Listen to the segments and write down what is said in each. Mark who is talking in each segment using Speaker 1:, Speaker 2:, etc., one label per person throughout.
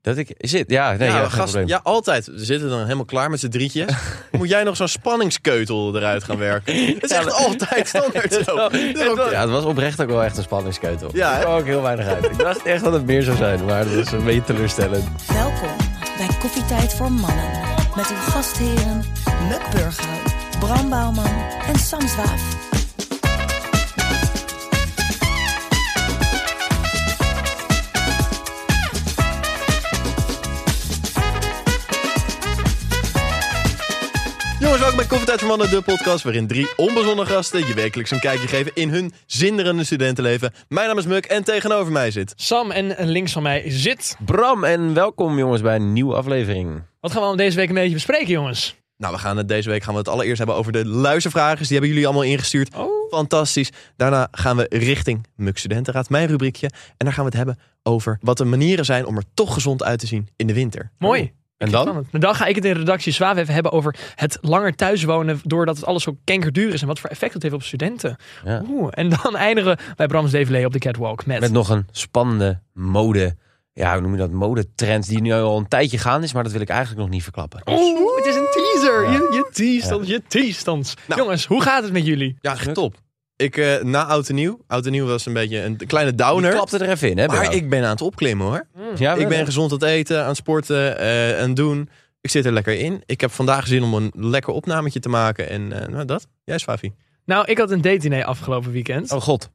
Speaker 1: Dat ik zit. Ja, nee, ja,
Speaker 2: ja,
Speaker 1: geen
Speaker 2: gast,
Speaker 1: probleem.
Speaker 2: ja, altijd. We zitten dan helemaal klaar met z'n drietjes. Moet jij nog zo'n spanningskeutel eruit gaan werken? Dat is echt altijd standaard zo. Dat is ook-
Speaker 1: Ja, het was oprecht ook wel echt een spanningskeutel.
Speaker 2: Ja,
Speaker 1: er
Speaker 2: hè?
Speaker 1: kwam ook heel weinig uit. Ik dacht echt dat het meer zou zijn, maar dat is een beetje teleurstellend.
Speaker 3: Welkom bij Koffietijd voor Mannen. Met uw gastheren Muk Burger, Bram Bouwman en Sam Zwaaf.
Speaker 2: Jongens, welkom bij Koffietijd voor Mannen, de podcast... waarin drie onbezonnen gasten je wekelijks een kijkje geven... in hun zinderende studentenleven. Mijn naam is Muk en tegenover mij zit...
Speaker 4: Sam en en links van mij zit.
Speaker 1: Bram en welkom jongens bij een nieuwe aflevering.
Speaker 4: Wat gaan we allemaal deze week een beetje bespreken,
Speaker 1: Oh.
Speaker 4: jongens?
Speaker 2: Nou, we gaan het deze week gaan we het allereerst hebben over de luistervragen. Die hebben jullie allemaal ingestuurd.
Speaker 1: Oh.
Speaker 2: Fantastisch. Daarna gaan we richting Muk Studentenraad, mijn rubriekje. En daar gaan we het hebben over wat de manieren zijn om er toch gezond uit te zien in de winter.
Speaker 4: Mooi.
Speaker 2: En dan?
Speaker 4: Spannend. En dan ga ik het in redactie Zwaaf even hebben over het langer thuiswonen. doordat het alles zo kankerduur is. en wat voor effect dat heeft op studenten.
Speaker 1: Ja.
Speaker 4: Oeh. En dan eindigen we bij Brams Develee op de catwalk. Met,
Speaker 1: Met nog een spannende mode... Ja, hoe noem je dat? Modetrend die nu al een tijdje gaande is, maar dat wil ik eigenlijk nog niet verklappen.
Speaker 4: Oeh, het is een teaser.
Speaker 1: Ja.
Speaker 4: Je, je teast ons, je teast ons.
Speaker 2: Nou.
Speaker 4: Jongens, hoe gaat het met jullie?
Speaker 2: Ja, echt top. Ik, eh, na Oud en Nieuw. Oud en Nieuw was een beetje een kleine
Speaker 1: Die
Speaker 2: downer.
Speaker 1: klapte er even in, hè? bij
Speaker 2: maar
Speaker 1: jou.
Speaker 2: ik ben aan het opklimmen hoor.
Speaker 1: ja,
Speaker 2: ik ben
Speaker 1: wel.
Speaker 2: gezond aan het eten, aan het sporten eh, en doen. Ik zit er lekker in. Ik heb vandaag zin om een lekker opnametje te maken. En eh, nou, dat. Jij, Swafi.
Speaker 4: Nou, ik had een date diner afgelopen weekend.
Speaker 1: Oh god.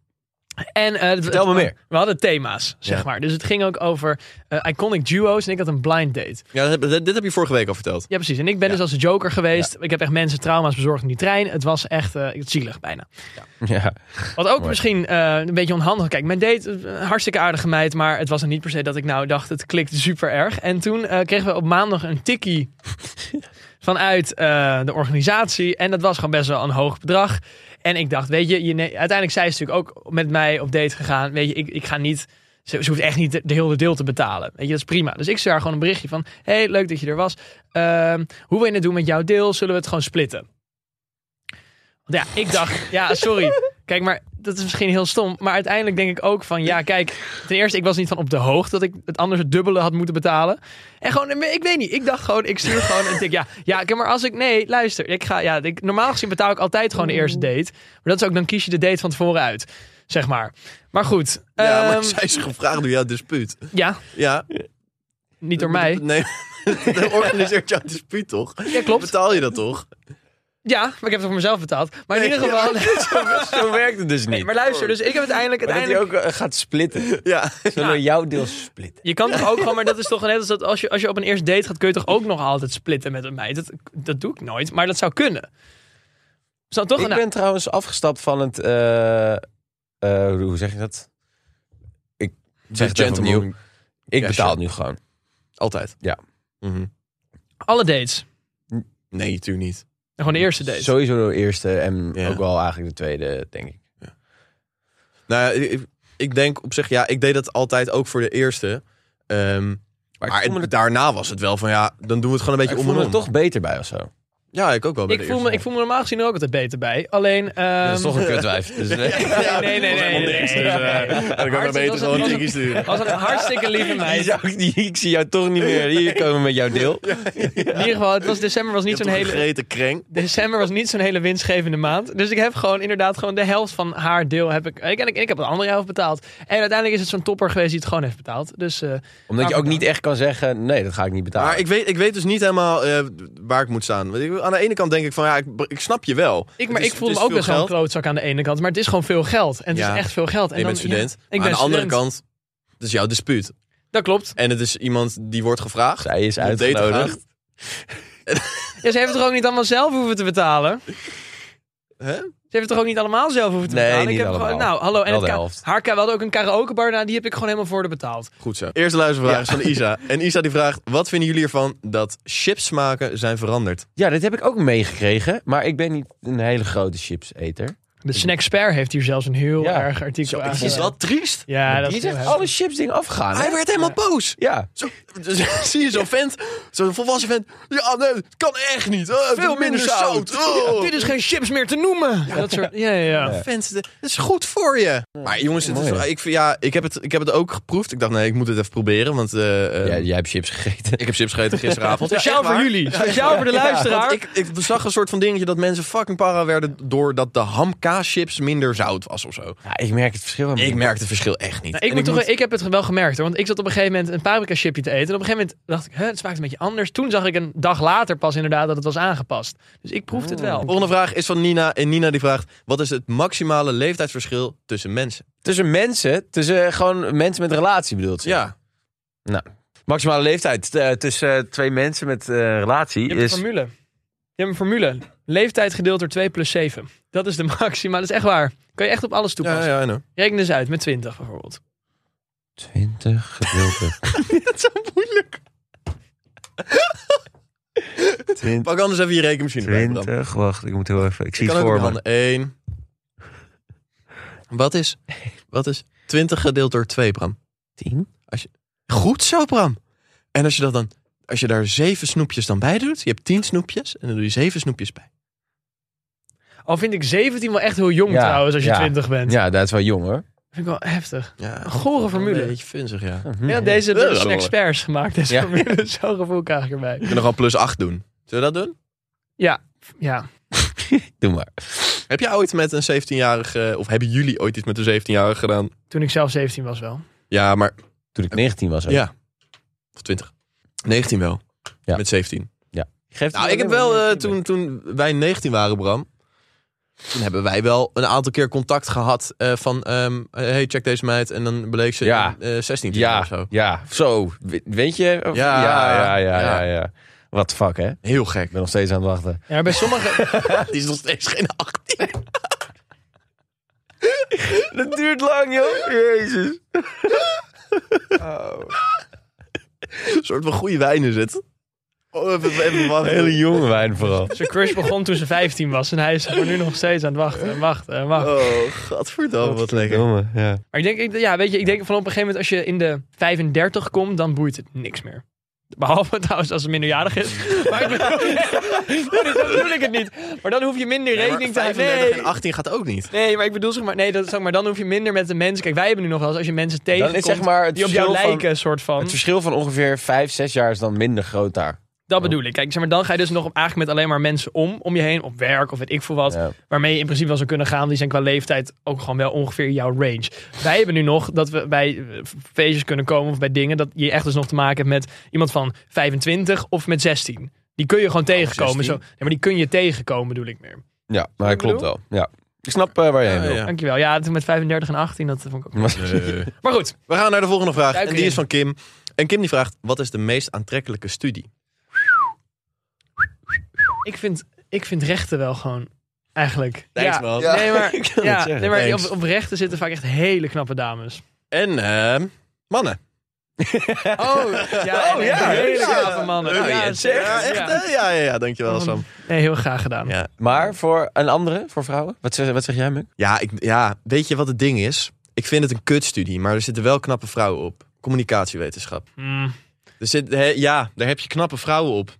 Speaker 4: En, eh, het-
Speaker 1: Vertel me
Speaker 4: het-
Speaker 1: meer.
Speaker 4: We hadden thema's, zeg
Speaker 2: Ja.
Speaker 4: maar. Dus het ging ook over eh, iconic duo's. En ik had een blind date.
Speaker 2: Ja, dat heb- dit, dit heb je vorige week al verteld.
Speaker 4: Ja, precies. En ik ben dus als de Joker geweest. Ik heb echt mensen trauma's bezorgd in die trein. Het was echt eh, zielig bijna.
Speaker 1: Ja.
Speaker 4: Wat ook
Speaker 1: Mooi.
Speaker 4: misschien eh, een beetje onhandig. Kijk, mijn date, eh, een hartstikke aardige meid. Maar het was er niet per se dat ik nou dacht, het klikt super erg. En toen eh, kregen we op maandag een tikkie vanuit eh, de organisatie. En dat was gewoon best wel een hoog bedrag. En ik dacht, weet je, je ne- uiteindelijk zij is natuurlijk ook met mij op date gegaan. Weet je, ik, ik ga niet... Ze, ze hoeft echt niet de, de hele deel te betalen. Weet je, dat is prima. Dus ik stuur haar gewoon een berichtje van... hey, leuk dat je er was. Ehm, hoe wil je het doen met jouw deel? Zullen we het gewoon splitten? Want ja, ik dacht, ja, sorry. Kijk, maar dat is misschien heel stom. Maar uiteindelijk denk ik ook van, ja, kijk. Ten eerste, ik was niet van op de hoogte dat ik het anders het dubbele had moeten betalen. En gewoon, ik weet niet. Ik dacht gewoon, ik stuur gewoon een tik. Ja, ja, kijk, maar als ik, nee, luister. Ik ga, ja, ik, normaal gezien betaal ik altijd gewoon de eerste date. Maar dat is ook, dan kies je de date van tevoren uit. Zeg maar. Maar goed.
Speaker 2: Ja, maar
Speaker 4: ehm,
Speaker 2: zij is gevraagd door jouw dispuut.
Speaker 4: ja
Speaker 2: Ja.
Speaker 4: niet door mij.
Speaker 2: Nee, dan organiseert jouw dispuut toch?
Speaker 4: Ja, klopt.
Speaker 2: Betaal je dat toch?
Speaker 4: Ja, maar ik heb het voor mezelf betaald. Maar in ieder geval.
Speaker 1: Zo werkt het dus niet.
Speaker 4: Maar luister, dus ik heb uiteindelijk.
Speaker 1: Maar
Speaker 4: uiteindelijk
Speaker 1: dat hij ook eh, gaat splitten.
Speaker 2: Ja.
Speaker 1: Zullen we jouw deel splitten?
Speaker 4: Je kan toch ook gewoon, maar dat is toch net als dat als je, als je op een eerste date gaat, kun je toch ook nog altijd splitten met een meid. Dat, dat doe ik nooit, maar dat zou kunnen. Zou toch
Speaker 1: ik
Speaker 4: een-
Speaker 1: ben trouwens afgestapt van het... eh, eh, hoe zeg je dat? Ik zeg het even
Speaker 2: gentleman.
Speaker 1: opnieuw. Ik
Speaker 2: Ja,
Speaker 1: betaal
Speaker 2: sure.
Speaker 1: nu gewoon.
Speaker 2: Altijd.
Speaker 1: Ja.
Speaker 2: Mhm.
Speaker 4: alle dates.
Speaker 2: Nee, natuurlijk niet.
Speaker 4: Gewoon de eerste date.
Speaker 1: Sowieso de eerste en
Speaker 2: Ja.
Speaker 1: ook wel eigenlijk de tweede, denk ik.
Speaker 2: Nou, ja, ik, ik denk op zich, ja, ik deed dat altijd ook voor de eerste. Ehm,
Speaker 1: Maar,
Speaker 2: maar
Speaker 1: ik voel me
Speaker 2: het-
Speaker 1: er,
Speaker 2: daarna was het wel van, ja, dan doen we het gewoon een
Speaker 1: ik
Speaker 2: beetje
Speaker 1: voel
Speaker 2: om en
Speaker 1: me
Speaker 2: om.
Speaker 1: er toch beter bij of zo.
Speaker 2: Ja, ik ook wel bij
Speaker 4: ik,
Speaker 2: de
Speaker 4: voel me,
Speaker 2: eerste.
Speaker 4: ik voel me normaal gezien er ook altijd beter bij. Alleen. ehm,
Speaker 1: dat is toch een kutwijf. Dus, eh,
Speaker 4: nee, nee, nee. nee, nee,
Speaker 1: dus,
Speaker 4: nee.
Speaker 2: Dan kan ik
Speaker 4: Hartstikke-
Speaker 2: maar beter
Speaker 4: was
Speaker 2: gewoon
Speaker 4: een-
Speaker 2: een
Speaker 4: was
Speaker 2: tikkie sturen.
Speaker 4: was een hartstikke lieve
Speaker 1: die
Speaker 4: meid.
Speaker 1: zou ik, die, ik zie jou toch niet meer hier komen met jouw deel.
Speaker 4: In ieder geval, het was, december was niet zo'n hele.
Speaker 2: Grete kreng.
Speaker 4: December was niet zo'n hele winstgevende maand. Dus ik heb gewoon inderdaad gewoon de helft van haar deel heb ik. En ik, en ik heb de andere helft betaald. En uiteindelijk is het zo'n topper geweest die het gewoon heeft betaald. Dus eh,
Speaker 1: Omdat je ook
Speaker 4: Afbetaald.
Speaker 1: niet echt kan zeggen, nee, dat ga ik niet betalen.
Speaker 2: Maar ik weet, ik weet dus niet helemaal eh, waar ik moet staan. Want ik- Aan de ene kant denk ik van, ja, ik, ik snap je wel.
Speaker 4: ik,
Speaker 2: Het
Speaker 4: maar
Speaker 2: is-
Speaker 4: ik voel
Speaker 2: het
Speaker 4: me
Speaker 2: is
Speaker 4: ook
Speaker 2: veel
Speaker 4: best wel een
Speaker 2: geld.
Speaker 4: klootzak aan de ene kant. Maar het is gewoon veel geld. En het
Speaker 2: Ja.
Speaker 4: is echt veel geld. En
Speaker 2: Je bent
Speaker 4: dan- ja,
Speaker 2: student. maar
Speaker 4: ik ben
Speaker 2: aan de andere
Speaker 4: student.
Speaker 2: kant, het is jouw dispuut.
Speaker 4: Dat klopt.
Speaker 2: En het is iemand die wordt gevraagd.
Speaker 1: Zij is
Speaker 2: om op date te
Speaker 1: uitgenodigd.
Speaker 2: gaan.
Speaker 4: Ja, ze heeft het er ook niet allemaal zelf hoeven te betalen.
Speaker 2: Hè?
Speaker 4: Ze heeft het toch ook niet allemaal zelf hoeven te
Speaker 1: Nee,
Speaker 4: betalen?
Speaker 1: niet
Speaker 4: ik heb
Speaker 1: allemaal.
Speaker 4: Gewoon, nou, hallo. En
Speaker 1: Wel
Speaker 4: het
Speaker 1: de
Speaker 4: ka-
Speaker 1: helft.
Speaker 4: haar ka- we hadden ook een karaokebar, nou, die heb ik gewoon helemaal voor de betaald.
Speaker 2: Goed zo. Eerste luistervraag is van Isa. En Isa die vraagt, wat vinden jullie ervan dat chipsmaken zijn veranderd?
Speaker 1: Ja, dit heb ik ook meegekregen. Maar ik ben niet een hele grote chipseter.
Speaker 4: De Snacksper heeft hier zelfs een heel
Speaker 1: Ja.
Speaker 4: erg artikel
Speaker 2: Zo,
Speaker 4: aan.
Speaker 2: is dat triest?
Speaker 4: Ja, dat
Speaker 1: Die is
Speaker 4: is heel
Speaker 1: echt
Speaker 4: heftig.
Speaker 1: alle chipsdingen afgegaan. hè?
Speaker 2: Hij werd helemaal boos.
Speaker 1: Ja.
Speaker 2: Zo, zie je zo'n vent, zo'n volwassen vent. Ja, nee, dat kan echt niet. Eh,
Speaker 4: Veel minder zout.
Speaker 2: Oh.
Speaker 4: Dit is geen chips meer te noemen. Dat soort, ja, ja, ja.
Speaker 2: Vent, dat is goed voor je. Maar jongens, het is,
Speaker 1: Mooi, hè?
Speaker 2: ik, vind- ja, ik, heb het, ik heb het ook geproeft. Ik dacht, nee, ik moet het even proberen. Want eh, eh,
Speaker 1: Ja, jij hebt chips gegeten.
Speaker 2: ik heb chips gegeten gisteravond.
Speaker 4: Speciaal
Speaker 2: Echt waar.
Speaker 4: voor jullie. Speciaal voor de
Speaker 2: Want
Speaker 4: luisteraar.
Speaker 2: ik, ik zag een soort van dingetje dat mensen fucking para werden doordat de hamkaaschips minder zout was of zo.
Speaker 1: Ja, ik merk het verschil. helemaal
Speaker 2: Ik
Speaker 1: niet.
Speaker 2: merk het verschil echt niet.
Speaker 4: Nou, ik,
Speaker 2: En
Speaker 4: moet toch, ik heb het wel gemerkt hoor. Want ik zat op een gegeven moment een paprika chipje te eten. En op een gegeven moment dacht ik, hè, het smaakt een beetje anders. Toen zag ik een dag later pas inderdaad dat het was aangepast. Dus ik proefde het wel.
Speaker 2: Volgende vraag is van Nina. En Nina die vraagt, wat is het maximale leeftijdsverschil tussen mensen?
Speaker 1: Tussen mensen, tussen eh, gewoon mensen met relatie bedoelt ze.
Speaker 2: Ja,
Speaker 1: Maximale leeftijd eh, tussen eh, twee mensen met eh, relatie
Speaker 4: Je hebt een
Speaker 1: is...
Speaker 4: formule. Je hebt een formule. Leeftijd gedeeld door 2 plus 7. Dat is de maxima. Dat is echt waar. Kan je echt op alles toepassen.
Speaker 2: ja, ja, I know.
Speaker 4: Reken eens uit met 20 bijvoorbeeld.
Speaker 1: 20 gedeeld door... Dat is zo moeilijk.
Speaker 2: Pak anders even je rekenmachine bij, Bram.
Speaker 1: 20, wacht, ik moet heel even... Ik zie
Speaker 2: Ik
Speaker 1: het
Speaker 2: kan ook
Speaker 1: voor
Speaker 2: met
Speaker 1: me.
Speaker 2: handen. Eén. Wat is, wat is 20 gedeeld door 2, Bram?
Speaker 1: 10?
Speaker 2: Goed zo, Bram. En als je, dat dan, als je daar zeven snoepjes dan bij doet, je hebt 10 snoepjes en dan doe je zeven snoepjes bij.
Speaker 4: Al vind ik 17 wel echt heel jong
Speaker 1: Ja,
Speaker 4: trouwens als je
Speaker 1: ja.
Speaker 4: 20 bent.
Speaker 1: Ja, dat is wel jong hoor.
Speaker 4: Vind ik wel heftig.
Speaker 2: Ja,
Speaker 4: Een gore formule.
Speaker 2: Een beetje vunzig, ja. We
Speaker 1: Mhm.
Speaker 4: Ja, deze
Speaker 2: Ja,
Speaker 4: door
Speaker 2: dat
Speaker 4: zijn
Speaker 2: wel.
Speaker 4: experts gemaakt. Deze
Speaker 1: Ja.
Speaker 4: formule. Zo'n gevoel krijg ik erbij.
Speaker 2: kunnen gewoon plus 8 doen. Zullen we dat doen?
Speaker 4: Ja, ja.
Speaker 1: Doe maar.
Speaker 2: Heb jij ooit met een 17-jarige, of hebben jullie ooit iets met een 17-jarige gedaan?
Speaker 4: Toen ik zelf 17 was wel.
Speaker 2: Ja, maar,
Speaker 1: Toen ik 19 was ook.
Speaker 2: ja. Of 20. 19 wel.
Speaker 1: Ja.
Speaker 2: Met 17.
Speaker 1: Geeft
Speaker 2: Nou, ik heb wel, eh, toen, toen wij 19 waren, Bram. Toen hebben wij wel een aantal keer contact gehad eh, van... ehm, hey, check deze meid. En dan bleek ze
Speaker 1: Ja.
Speaker 2: eh, 16 te zijn
Speaker 1: Ja,
Speaker 2: of zo.
Speaker 1: ja, zo. We- Weet je? Of-
Speaker 2: Ja,
Speaker 1: ja, ja,
Speaker 2: ja.
Speaker 1: ja. ja, ja. Wat de fuck, hè? Ik
Speaker 2: Heel gek.
Speaker 1: ben nog steeds aan het wachten.
Speaker 4: Ja, maar bij sommige...
Speaker 2: Die is nog steeds geen 18.
Speaker 1: Dat duurt lang, joh. Jezus.
Speaker 2: Een soort van goede wijn is het. Oh, even, even wachten.
Speaker 1: Hele jonge wijn vooral.
Speaker 4: zijn crush begon toen ze 15 was. En hij is er nu nog steeds aan het wachten en wachten en wachten.
Speaker 2: Oh, godverdamme, wat lekker.
Speaker 1: Jonge, ja.
Speaker 4: Maar ik denk, ik, ja, weet je, ik denk van op een gegeven moment als je in de 35 komt, dan boeit het niks meer. Behalve trouwens als ze minderjarig is. Maar ik bedoel, nee, zo bedoel ik het niet. Maar dan hoef je minder rekening te houden.
Speaker 2: 35
Speaker 4: Nee.
Speaker 2: en 18 gaat ook niet.
Speaker 4: nee, maar ik bedoel zeg maar, nee, dat, zeg maar, dan hoef je minder met de mensen. Kijk, wij hebben nu nog wel eens als je mensen
Speaker 1: Dan
Speaker 4: tegenkomt
Speaker 1: is zeg maar het
Speaker 4: die op jou
Speaker 1: verschil,
Speaker 4: lijken,
Speaker 1: van,
Speaker 4: soort van.
Speaker 1: het verschil van ongeveer 5, 6 jaar is dan minder groot daar.
Speaker 4: Dat bedoel ik. Kijk, zeg maar, dan ga je dus nog op- eigenlijk met alleen maar mensen om, om je heen, op werk of weet ik veel wat.
Speaker 1: Ja.
Speaker 4: Waarmee je in principe wel zou kunnen gaan. Die zijn qua leeftijd ook gewoon wel ongeveer jouw range. Wij hebben nu nog dat we bij eh, feestjes kunnen komen of bij dingen. Dat je echt dus nog te maken hebt met iemand van 25 of met 16. Die kun je gewoon tegenkomen. Zo.
Speaker 2: 16.
Speaker 4: Nee, maar die kun je tegenkomen, bedoel ik meer.
Speaker 1: Ja, maar dat klopt wel. Ja. Ik snap eh, waar je heen wil.
Speaker 2: Ja.
Speaker 4: Dankjewel. Ja, toen met 35 en 18, dat vond ik ook. Maar goed,
Speaker 2: We gaan naar de volgende vraag.
Speaker 4: Duik
Speaker 2: en die is van
Speaker 4: erin.
Speaker 2: Kim. En Kim die vraagt, wat is de meest aantrekkelijke studie?
Speaker 4: ik vind, ik vind rechten wel gewoon eigenlijk.
Speaker 2: Thanks,
Speaker 4: ja.
Speaker 2: man.
Speaker 4: Nee, maar, ja,
Speaker 1: zeggen.
Speaker 4: nee, maar die op,
Speaker 2: Thanks.
Speaker 4: op rechten zitten vaak echt hele knappe dames.
Speaker 2: En ehm, mannen.
Speaker 4: Oh, ja.
Speaker 2: Oh, ja.
Speaker 4: Hele
Speaker 2: Ja.
Speaker 4: knappe mannen.
Speaker 2: Ja,
Speaker 4: Ja,
Speaker 2: ja,
Speaker 4: zeker.
Speaker 2: Ja, echt?
Speaker 4: Ja.
Speaker 2: hè? Ja, ja, ja, dankjewel Sam.
Speaker 4: Nee, heel graag gedaan.
Speaker 2: Ja.
Speaker 1: Maar voor een andere, voor vrouwen? Wat zeg, wat zeg jij, Muk?
Speaker 2: Ja, ik, ja, weet je wat het ding is? Ik vind het een kutstudie, maar er zitten wel knappe vrouwen op. Communicatiewetenschap.
Speaker 4: Mm.
Speaker 2: Er zit, hè, ja, daar heb je knappe vrouwen op.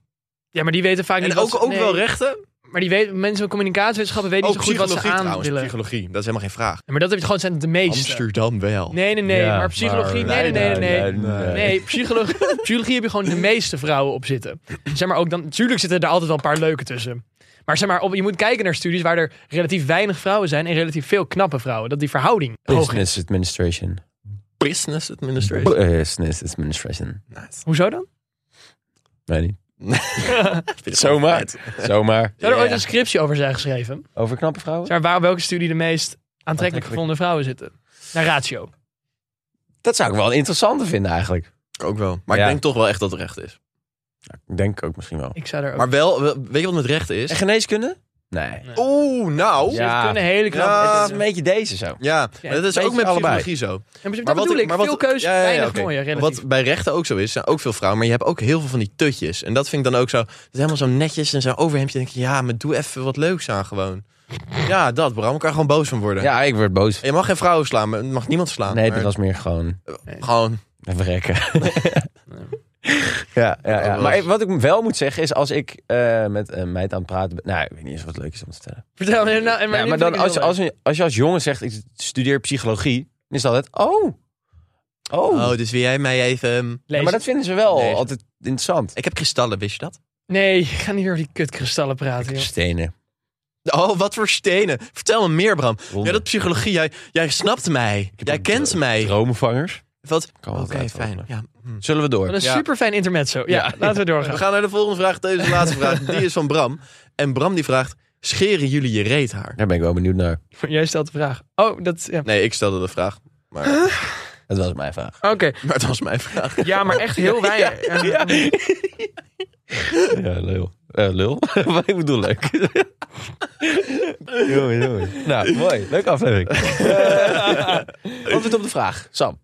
Speaker 4: Ja, maar die weten vaak
Speaker 2: En
Speaker 4: niet
Speaker 2: ook,
Speaker 4: wat ze-
Speaker 2: ook
Speaker 4: nee.
Speaker 2: wel rechten.
Speaker 4: Maar die weten, mensen met communicatiewetenschappen weten
Speaker 2: Ook
Speaker 4: niet zo goed wat
Speaker 2: psychologie
Speaker 4: ze aan
Speaker 2: trouwens.
Speaker 4: willen.
Speaker 2: Psychologie, dat is helemaal geen vraag.
Speaker 4: Ja, maar dat heb je gewoon zijn het de meeste.
Speaker 2: Amsterdam wel.
Speaker 4: Nee, nee, nee.
Speaker 1: Ja,
Speaker 4: maar psychologie,
Speaker 1: maar-
Speaker 4: nee, nee, nee, nee.
Speaker 1: Nee,
Speaker 4: Nee,
Speaker 1: nee, nee.
Speaker 4: Nee, psychologie, psychologie heb je gewoon de meeste vrouwen op zitten. Zeg maar ook dan, natuurlijk zitten er altijd wel een paar leuke tussen. Maar zeg maar, op, je moet kijken naar studies waar er relatief weinig vrouwen zijn en relatief veel knappe vrouwen. Dat die verhouding hoog is.
Speaker 1: Business administration.
Speaker 2: Business administration.
Speaker 1: Business administration.
Speaker 2: Nice.
Speaker 4: Hoezo dan?
Speaker 1: Weet niet.
Speaker 2: Vind ik wel
Speaker 1: Zomaar.
Speaker 2: vet.
Speaker 1: Zomaar.
Speaker 4: Zou er ooit
Speaker 2: Ja.
Speaker 4: een scriptie over zijn geschreven?
Speaker 1: Over knappe vrouwen?
Speaker 4: Zeg, waar Dus welke studie de meest aantrekkelijk
Speaker 1: Aantrekkelijk.
Speaker 4: gevonden vrouwen zitten? Naar ratio.
Speaker 1: Dat zou ik wel een interessante vinden eigenlijk.
Speaker 2: Ik Ook wel. Maar
Speaker 1: Ja.
Speaker 2: ik denk toch wel echt dat het recht is.
Speaker 1: Ik Denk ook misschien wel.
Speaker 4: Ik zou er ook...
Speaker 2: Maar wel, wel- weet je wat met rechten is?
Speaker 1: En geneeskunde? Nee.
Speaker 2: Oeh, nou. Ja,
Speaker 1: Ja.
Speaker 4: Het kunnen hele knappe
Speaker 2: Ja.
Speaker 4: mensen
Speaker 1: Het
Speaker 4: zijn.
Speaker 1: is een beetje deze zo.
Speaker 2: maar dat is ook met
Speaker 1: beetje allebei.
Speaker 2: psychologie zo.
Speaker 4: En dat bedoel ik, veel keuze,
Speaker 2: ja, ja, ja,
Speaker 4: weinig
Speaker 2: oké.
Speaker 4: mooie, relatief.
Speaker 2: Wat bij rechten ook zo is, zijn ook veel vrouwen, maar je hebt ook heel veel van die tutjes. En dat vind ik dan ook zo, dat is helemaal zo netjes en zo'n overhemdje. Dan denk je, ja, maar doe even wat leuks aan gewoon. Ja, dat Bram, ik kan er gewoon boos van worden.
Speaker 1: Ja, ik word boos.
Speaker 2: Je mag geen vrouwen slaan, maar je mag niemand slaan.
Speaker 1: Nee,
Speaker 2: maar
Speaker 1: dat was meer gewoon
Speaker 2: Gewoon,
Speaker 1: Even rekken. ja, ja, ja.
Speaker 2: Dat was-
Speaker 1: Maar wat ik wel moet zeggen is, als ik eh, met een meid aan het praten ben... Nou, ik weet niet eens wat leuk is om te vertellen.
Speaker 4: Vertel me nou. en
Speaker 1: Maar, ja, maar dan als, je- als, je- als je als jongen zegt, ik studeer psychologie, dan is dat het... Oh, oh.
Speaker 2: oh, dus wil jij mij even...
Speaker 1: Ja, maar dat vinden ze wel
Speaker 2: Lezen.
Speaker 1: altijd interessant.
Speaker 2: Ik heb kristallen, wist je dat?
Speaker 4: Nee, ga niet weer over die kutkristallen praten, joh.
Speaker 1: Stenen.
Speaker 2: Oh, wat voor stenen. Vertel me meer, Bram.
Speaker 1: Wonder.
Speaker 2: Ja, dat psychologie, jij, jij snapt mij.
Speaker 1: heb
Speaker 2: Jij
Speaker 1: een
Speaker 2: kent
Speaker 1: dro-
Speaker 2: mij.
Speaker 1: Dromenvangers.
Speaker 2: Wat?
Speaker 1: Kan
Speaker 2: Oké,
Speaker 1: wel wat
Speaker 2: fijn.
Speaker 1: uitvogelen.
Speaker 2: Ja. hm.
Speaker 1: Zullen we
Speaker 4: Wat
Speaker 1: door?
Speaker 4: een
Speaker 2: Ja.
Speaker 4: super fijn intermezzo. Ja,
Speaker 1: Ja.
Speaker 4: laten
Speaker 2: We
Speaker 4: we doorgaan.
Speaker 2: gaan naar de volgende vraag. Deze laatste vraag. Die is van Bram. En Bram die vraagt, scheren jullie je reethaar?
Speaker 1: Daar ben ik wel benieuwd naar.
Speaker 4: Jij stelt de vraag. Oh, dat... Ja.
Speaker 2: Nee, ik stelde de vraag. Maar,
Speaker 1: Dat was mijn vraag.
Speaker 4: Oké.
Speaker 2: maar het was mijn vraag.
Speaker 4: Ja, maar echt heel weinig. Ja.
Speaker 1: Ja, lul. Eh, lul? Wat ik bedoel, leuk. jongen, jongen. Nou, mooi. Leuke aflevering. Eh, antwoord op de vraag. Sam.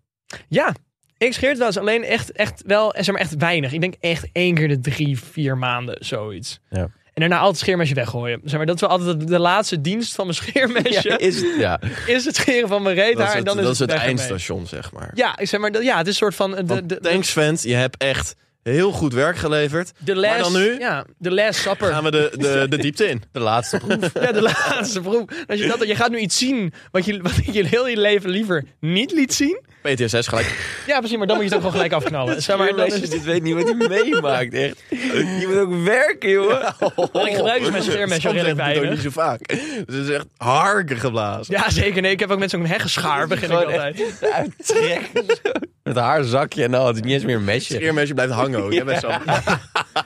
Speaker 4: Ja, ik scheer het wel eens. Alleen echt, echt wel, eh, zeg maar echt weinig. Ik denk echt één keer de drie, vier maanden, zoiets.
Speaker 1: Ja.
Speaker 4: En daarna altijd scheermesje weggooien. Zeg maar, dat is wel altijd de laatste dienst van mijn scheermesje.
Speaker 1: Is, ja.
Speaker 4: Is het scheren van mijn reet
Speaker 2: Dat is
Speaker 4: haar.
Speaker 2: het,
Speaker 4: en dan
Speaker 2: dat is het
Speaker 4: weg ermee.
Speaker 2: eindstation, zeg maar.
Speaker 4: Ja, ik zeg maar, dat- ja, het is een soort van eh, de, de,
Speaker 2: Want
Speaker 4: de,
Speaker 2: thanks, vent. Je hebt echt heel goed werk geleverd.
Speaker 4: de les.
Speaker 2: Maar dan nu
Speaker 4: Ja, de les sapper.
Speaker 2: gaan we de, de, de diepte in.
Speaker 1: De laatste proef.
Speaker 4: Ja, de laatste proef. Als je, dat, je gaat nu iets zien wat je, wat je heel je leven liever niet liet zien.
Speaker 2: PTSS gelijk.
Speaker 4: Ja, precies, maar dan moet je het ook gewoon gelijk afknallen. Zeg maar, dat is,
Speaker 1: dit Dus weet niet wat hij meemaakt, echt. Je moet ook werken, jongen.
Speaker 4: ik gebruik dus mijn
Speaker 2: Oh,
Speaker 4: scheermesje al
Speaker 2: Soms zeg
Speaker 4: redelijk
Speaker 2: ik het ook
Speaker 4: weinig.
Speaker 2: niet zo vaak. Dus het is echt harken geblazen.
Speaker 4: Ja, zeker. Nee, ik heb ook met zo'n heggeschaar begin ik
Speaker 1: Gewoon
Speaker 4: altijd.
Speaker 1: Uittrekken. Met haar zakje en al. Het is niet eens meer een mesje.
Speaker 2: Scheermesje blijft hangen ook. hè, bij Sam.
Speaker 4: Ja,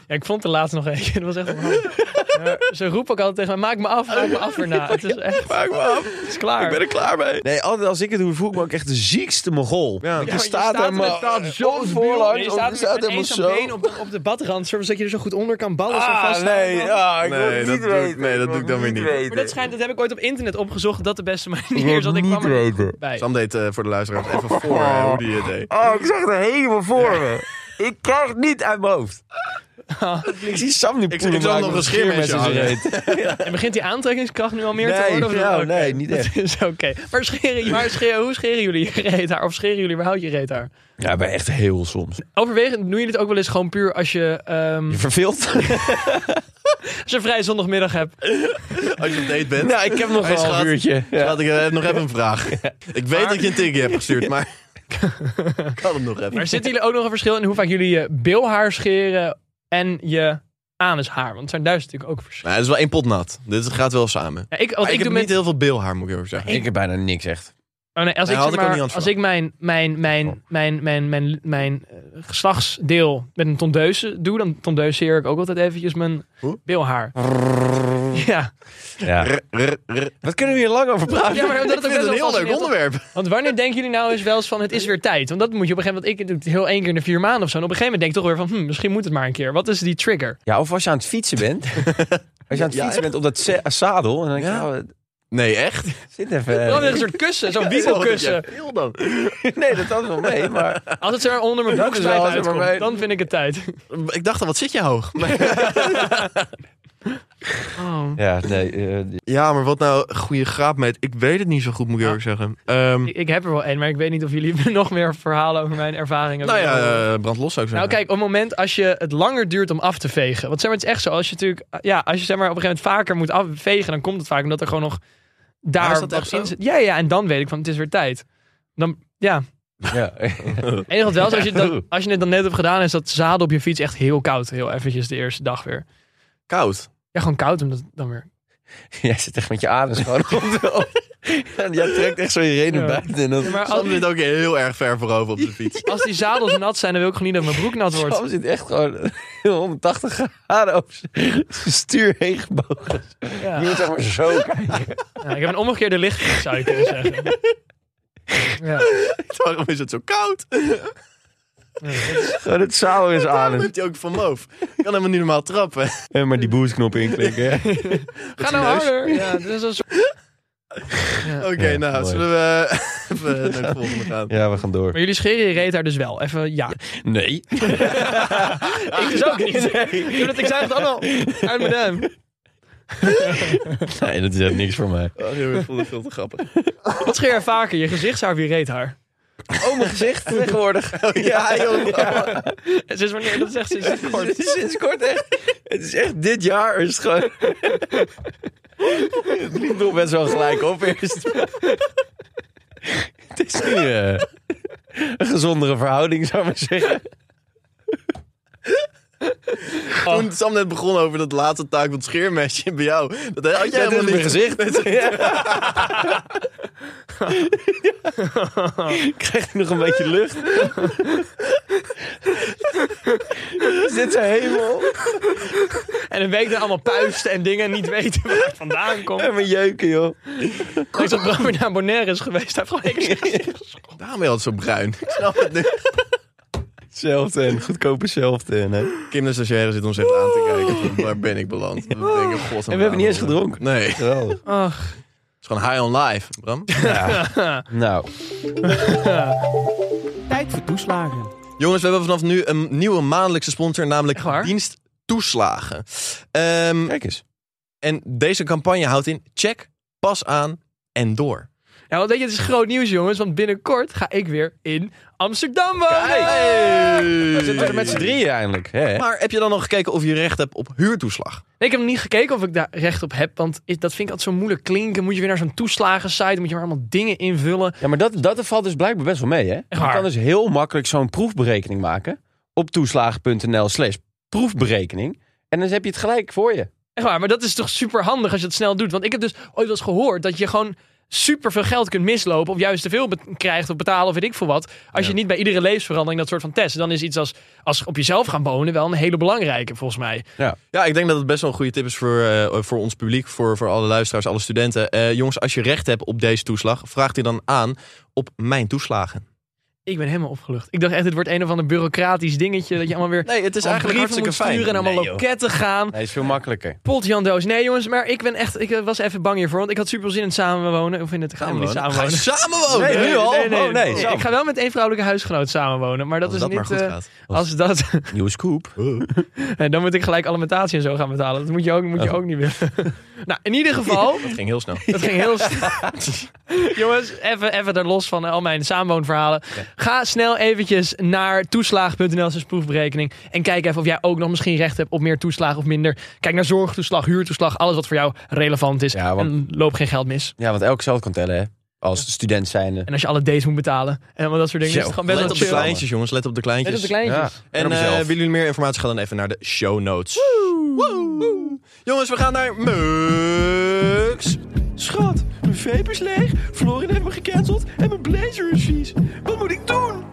Speaker 4: ik vond de laatste nog eentje. Dat was echt onhandig. Maar Ze roepen ook altijd tegen mij, maak me af, maak me af erna. Het is echt,
Speaker 2: Maak me af.
Speaker 4: het is
Speaker 2: Ik
Speaker 4: klaar.
Speaker 2: ben er klaar mee.
Speaker 1: Nee, altijd als ik het doe, voel ik me ook echt de ziekste mogol.
Speaker 2: Ja.
Speaker 1: Want
Speaker 4: Ja,
Speaker 1: je
Speaker 4: maar
Speaker 1: staat daar
Speaker 4: met-
Speaker 1: maar
Speaker 4: staat zo
Speaker 1: op
Speaker 4: debiel.
Speaker 1: voorlangs,
Speaker 4: Je
Speaker 1: of
Speaker 4: staat
Speaker 1: je
Speaker 4: met
Speaker 1: staat
Speaker 4: één
Speaker 1: helemaal
Speaker 4: zo'n
Speaker 1: zo.
Speaker 4: been op de, op de badrand, zodat je er zo goed onder kan ballen. zo
Speaker 1: Ah,
Speaker 4: vast
Speaker 1: nee, ja, ik
Speaker 2: Nee,
Speaker 1: wil het
Speaker 2: dat
Speaker 1: niet
Speaker 2: doe ik-
Speaker 1: weten.
Speaker 2: nee, dat
Speaker 1: wil
Speaker 2: doe ik dan weer
Speaker 1: het
Speaker 2: niet.
Speaker 1: weten.
Speaker 4: Maar dat, schijnt, dat heb ik ooit op internet opgezocht, dat de beste
Speaker 1: Ik
Speaker 4: manier
Speaker 1: wil
Speaker 4: is. Dat
Speaker 1: het
Speaker 4: ik
Speaker 1: niet
Speaker 4: kwam er niet
Speaker 1: weten.
Speaker 4: bij.
Speaker 2: Sam deed eh, voor de luisteraars
Speaker 4: Oh.
Speaker 2: even voor eh, hoe die het deed.
Speaker 1: Oh, ik zag het helemaal voor me. Ik krijg het niet uit mijn hoofd.
Speaker 4: Ah.
Speaker 1: ik zie Sam nu
Speaker 2: ik zag nog een scheermesje
Speaker 4: En begint die aantrekkingskracht nu al meer te
Speaker 1: Nee,
Speaker 4: worden? of
Speaker 1: nou,
Speaker 4: niet? Oké,
Speaker 1: nee, niet echt.
Speaker 4: Dat is oké. Maar, scheren, maar scheren, hoe scheren jullie je reethaar? Of scheren jullie überhaupt je reethaar?
Speaker 1: Ja, maar echt heel soms.
Speaker 4: Overwegend doen jullie het ook wel eens gewoon puur als je, ehm,
Speaker 1: Je verveelt?
Speaker 4: als je vrij zondagmiddag hebt.
Speaker 2: Als je op date bent.
Speaker 1: nou, ik heb nog
Speaker 2: Hey,
Speaker 1: wel
Speaker 2: schat.
Speaker 1: een uurtje. Ja.
Speaker 2: Schat, ik heb nog even een vraag. Ik weet dat je een tikje hebt gestuurd, maar ik had hem nog even.
Speaker 4: Maar zitten jullie ook nog een verschil in hoe vaak jullie je bilhaar scheren en je anushaar? Want het zijn duizend natuurlijk ook verschillen.
Speaker 2: Nou, het is wel één pot nat. Dit gaat wel samen.
Speaker 4: Ja, ik, als
Speaker 2: Maar
Speaker 4: ik,
Speaker 2: ik heb
Speaker 4: doe met,
Speaker 2: niet heel veel beelhaar, moet ik eerlijk zeggen.
Speaker 1: Ik heb bijna niks echt.
Speaker 4: oh nee, als
Speaker 2: Nou,
Speaker 4: ik,
Speaker 2: had ik ook
Speaker 4: zeg maar,
Speaker 2: niet anders
Speaker 4: als ik mijn, mijn, mijn, mijn, mijn, mijn, mijn eh, geslachtsdeel met een tondeuze doe, dan tondeuseer ik ook altijd eventjes mijn
Speaker 2: Hoe?
Speaker 4: bilhaar. Ja.
Speaker 1: Ja. Wat kunnen we hier lang over praten?
Speaker 4: ja, maar
Speaker 2: Ik
Speaker 4: dat
Speaker 2: vind
Speaker 4: is ook best
Speaker 2: het
Speaker 4: wel
Speaker 2: een heel leuk
Speaker 4: fascinerend.
Speaker 2: onderwerp.
Speaker 4: Want wanneer denken jullie nou eens wel eens van het is weer tijd? Want dat moet je op een gegeven moment, ik doe het heel één keer in de vier maanden of zo. En op een gegeven moment denk ik toch weer van, hm, misschien moet het maar een keer. Wat is die trigger?
Speaker 1: Ja, of als je aan het fietsen bent. Als je aan het fietsen bent op dat ze- zadel. En dan denk je,
Speaker 2: Ja.
Speaker 1: oh,
Speaker 2: Nee, echt?
Speaker 1: zit
Speaker 2: Eh,
Speaker 1: even. eh.
Speaker 4: Dan is een soort kussen, zo'n wiekelkussen.
Speaker 2: Heel dan.
Speaker 1: Nee, dat had wel mee, maar...
Speaker 4: Als het er onder mijn
Speaker 1: Dat is
Speaker 4: broekspijp
Speaker 1: wel als het
Speaker 4: uitkomt,
Speaker 1: maar bij-
Speaker 4: dan vind ik het tijd.
Speaker 2: Ik dacht al, wat zit je hoog?
Speaker 1: Ja, nee. eh,
Speaker 2: Ja, maar wat nou goede graapmeet. Ik weet het niet zo goed, moet ik eerlijk zeggen. Ehm,
Speaker 4: Ik, ik heb er wel één, maar ik weet niet of jullie nog meer verhalen over mijn ervaringen
Speaker 2: nou
Speaker 4: willen horen.
Speaker 2: ja, eh, brand los zou ik
Speaker 4: Nou
Speaker 2: zeggen.
Speaker 4: kijk, op het moment als je het langer duurt om af te vegen. Want zeg maar, het is echt zo. Als je natuurlijk, ja, als je zeg maar op een gegeven moment vaker moet afvegen, dan komt het vaak omdat er gewoon nog
Speaker 2: Maar
Speaker 4: daar
Speaker 2: is dat
Speaker 4: wat
Speaker 2: echt zo?
Speaker 4: in zit. Ja, ja, en dan weet ik van het is weer tijd. Dan, ja,
Speaker 1: ja.
Speaker 4: het enige wat wel is, als je, dat, als je het dan net hebt gedaan, is dat zadel op je fiets echt heel koud. Heel eventjes de eerste dag weer.
Speaker 2: Koud.
Speaker 4: Ja, gewoon koud omdat het dan weer.
Speaker 1: Jij zit echt met je adem gewoon op de En jij trekt echt zo je reden
Speaker 4: Ja.
Speaker 1: buiten. En dan...
Speaker 4: Ja, maar als,
Speaker 2: Sam zit ook heel erg ver voorover op de fiets.
Speaker 4: als die zadels nat zijn, dan wil ik gewoon niet dat mijn broek nat wordt.
Speaker 1: Sam zit echt gewoon 180 graden op zijn stuur heen gebogen.
Speaker 4: Ja.
Speaker 1: Je moet zeg maar zo kijken.
Speaker 4: Ja, ik heb een omgekeerde licht, zou je kunnen zeggen. Ja.
Speaker 2: Waarom is het zo koud?
Speaker 1: Gewoon het zou is aan.
Speaker 2: Waarom heeft hij ook van moof? Kan helemaal niet normaal trappen.
Speaker 1: En Eh, maar die boostknop inklikken. hè.
Speaker 4: Ga nou
Speaker 2: neus.
Speaker 4: harder. Ja, dit is een soort-
Speaker 2: Oké,
Speaker 1: Ja,
Speaker 2: nou,
Speaker 1: mooi.
Speaker 2: zullen we eh, even naar de volgende gaan?
Speaker 1: Ja, we gaan door.
Speaker 4: Maar jullie scheren je reet daar dus wel. Even ja.
Speaker 1: Nee.
Speaker 4: Ik dus ook niet. Doordat ik zei het allemaal uit mijn duim.
Speaker 1: Nee, dat is echt niks voor mij.
Speaker 2: Oh, joh, ik vond het veel te grappig.
Speaker 4: Wat scheer je vaker? Je gezichtshaar of je reethaar?
Speaker 1: Oh, mijn gezicht tegenwoordig.
Speaker 2: Ja, joh.
Speaker 4: Sinds wanneer? Dat is echt sinds kort.
Speaker 1: Sinds kort echt. Het is echt dit jaar is het gewoon... Het liep nog best wel gelijk op eerst. Het is nu eh, een gezondere verhouding, zou ik maar zeggen. Oh.
Speaker 2: Toen Sam net begon over dat laatste taak van het scheermesje bij jou. Dat had jij
Speaker 1: Dat is
Speaker 2: helemaal
Speaker 1: mijn
Speaker 2: niet.
Speaker 1: gezicht. Krijg ik nog een beetje lucht? Is dit zijn hemel?
Speaker 4: En een week dan allemaal puisten en dingen en niet weten waar het vandaan komt.
Speaker 1: En mijn jeuken, joh.
Speaker 4: Ik zat wel weer naar Bonaire is geweest. Daar gewoon ik
Speaker 2: Daarom ben je altijd zo bruin. Ik snap het nu.
Speaker 1: Zelfde en goedkope zelfde en. Hè. Oh.
Speaker 2: Kim de stagiaire zit ons even aan te kijken. van, Waar ben ik beland? We denken, god,
Speaker 1: En we hebben niet eens gedronken.
Speaker 2: Nee, het
Speaker 1: Geweldig.
Speaker 4: Ach.
Speaker 2: is gewoon high on life, Bram.
Speaker 1: Nou,
Speaker 4: Tijd voor toeslagen.
Speaker 2: Jongens, we hebben vanaf nu een nieuwe maandelijkse sponsor, namelijk
Speaker 4: Echt waar?
Speaker 2: Dienst Toeslagen. Ehm,
Speaker 1: kijk eens.
Speaker 2: en deze campagne houdt in check, pas aan en door.
Speaker 4: Ja, want weet je, het is groot nieuws, jongens. Want binnenkort ga ik weer in Amsterdam wonen.
Speaker 1: We zitten er met z'n drieën eigenlijk. Hè?
Speaker 2: Maar heb je dan nog gekeken of je recht hebt op huurtoeslag?
Speaker 4: Nee, ik heb nog niet gekeken of ik daar recht op heb. Want is- dat vind ik altijd zo moeilijk klinken. Moet je weer naar zo'n toeslagensite. Moet je maar allemaal dingen invullen.
Speaker 1: Ja, maar dat, dat valt dus blijkbaar best wel mee. Hè? Je
Speaker 4: waar?
Speaker 1: kan dus heel makkelijk zo'n proefberekening maken. Op toeslagen.nl slash proefberekening. En dan heb je het gelijk voor je.
Speaker 4: Echt waar, maar dat is toch super handig als je het snel doet. Want ik heb dus ooit wel eens gehoord dat je gewoon super veel geld kunt mislopen. Of juist te veel be- krijgt of betalen of weet ik veel wat. Als je niet bij iedere levensverandering dat soort van test. Dan is iets als, als op jezelf gaan wonen wel een hele belangrijke volgens mij.
Speaker 2: Ja, ik denk dat het best wel een goede tip is voor, eh, voor ons publiek, voor, voor alle luisteraars, alle studenten. Eh, jongens, als je recht hebt op deze toeslag, vraag die dan aan op mijn toeslagen.
Speaker 4: Ik ben helemaal opgelucht. Ik dacht echt, dit wordt een of ander bureaucratisch dingetje. Dat je allemaal weer
Speaker 2: Nee, het is
Speaker 4: allemaal
Speaker 2: eigenlijk
Speaker 4: brieven
Speaker 2: hartstikke
Speaker 4: moet
Speaker 2: fijn.
Speaker 4: sturen en allemaal
Speaker 1: Nee, joh.
Speaker 4: loketten gaan.
Speaker 1: Nee, is veel makkelijker.
Speaker 4: Potjan doos. Nee jongens, maar ik ben echt, ik eh, was even bang hiervoor. Want ik had super veel zin in het samenwonen. Of in het gaan we niet
Speaker 2: Ga je
Speaker 4: samenwonen.
Speaker 2: samenwonen?
Speaker 1: Nee, nu al?
Speaker 4: Nee, nee,
Speaker 1: Oh, nee,
Speaker 4: Ik ga wel met één vrouwelijke huisgenoot samenwonen. Maar dat
Speaker 2: Als
Speaker 4: is
Speaker 2: dat
Speaker 4: niet...
Speaker 2: maar goed
Speaker 4: eh,
Speaker 2: gaat.
Speaker 4: als dat...
Speaker 1: Nieuwe scoop.
Speaker 4: En dan moet ik gelijk alimentatie en zo gaan betalen. Dat moet je ook, moet
Speaker 2: Oh.
Speaker 4: je ook niet willen. nou, in ieder geval,
Speaker 2: Dat ging heel snel.
Speaker 4: dat ging heel snel. Jongens, even, even er los van al mijn samenwoonverhalen. Ga snel eventjes naar toeslaag.nl slash proefberekening. En kijk even of jij ook nog misschien recht hebt op meer toeslagen of minder. Kijk naar zorgtoeslag, huurtoeslag, alles wat voor jou relevant is.
Speaker 1: Ja, want-
Speaker 4: En loop geen geld mis.
Speaker 1: Ja, want elk zelf kan tellen, hè? Als student zijnde.
Speaker 4: En als je alle dates moet betalen en allemaal dat soort dingen.
Speaker 1: Zo,
Speaker 4: is het gewoon best
Speaker 2: Let
Speaker 4: wel
Speaker 2: op de
Speaker 4: chill.
Speaker 2: kleintjes, jongens. Let op de kleintjes.
Speaker 4: Let op de kleintjes.
Speaker 1: En,
Speaker 2: En
Speaker 1: op
Speaker 2: eh,
Speaker 1: mezelf.
Speaker 2: willen jullie meer informatie? Ga dan even naar de show notes. Woe. Jongens, we gaan naar Mux.
Speaker 5: Schat, mijn vape is leeg, Florin heeft me gecanceld en mijn blazer is vies. Wat moet ik doen?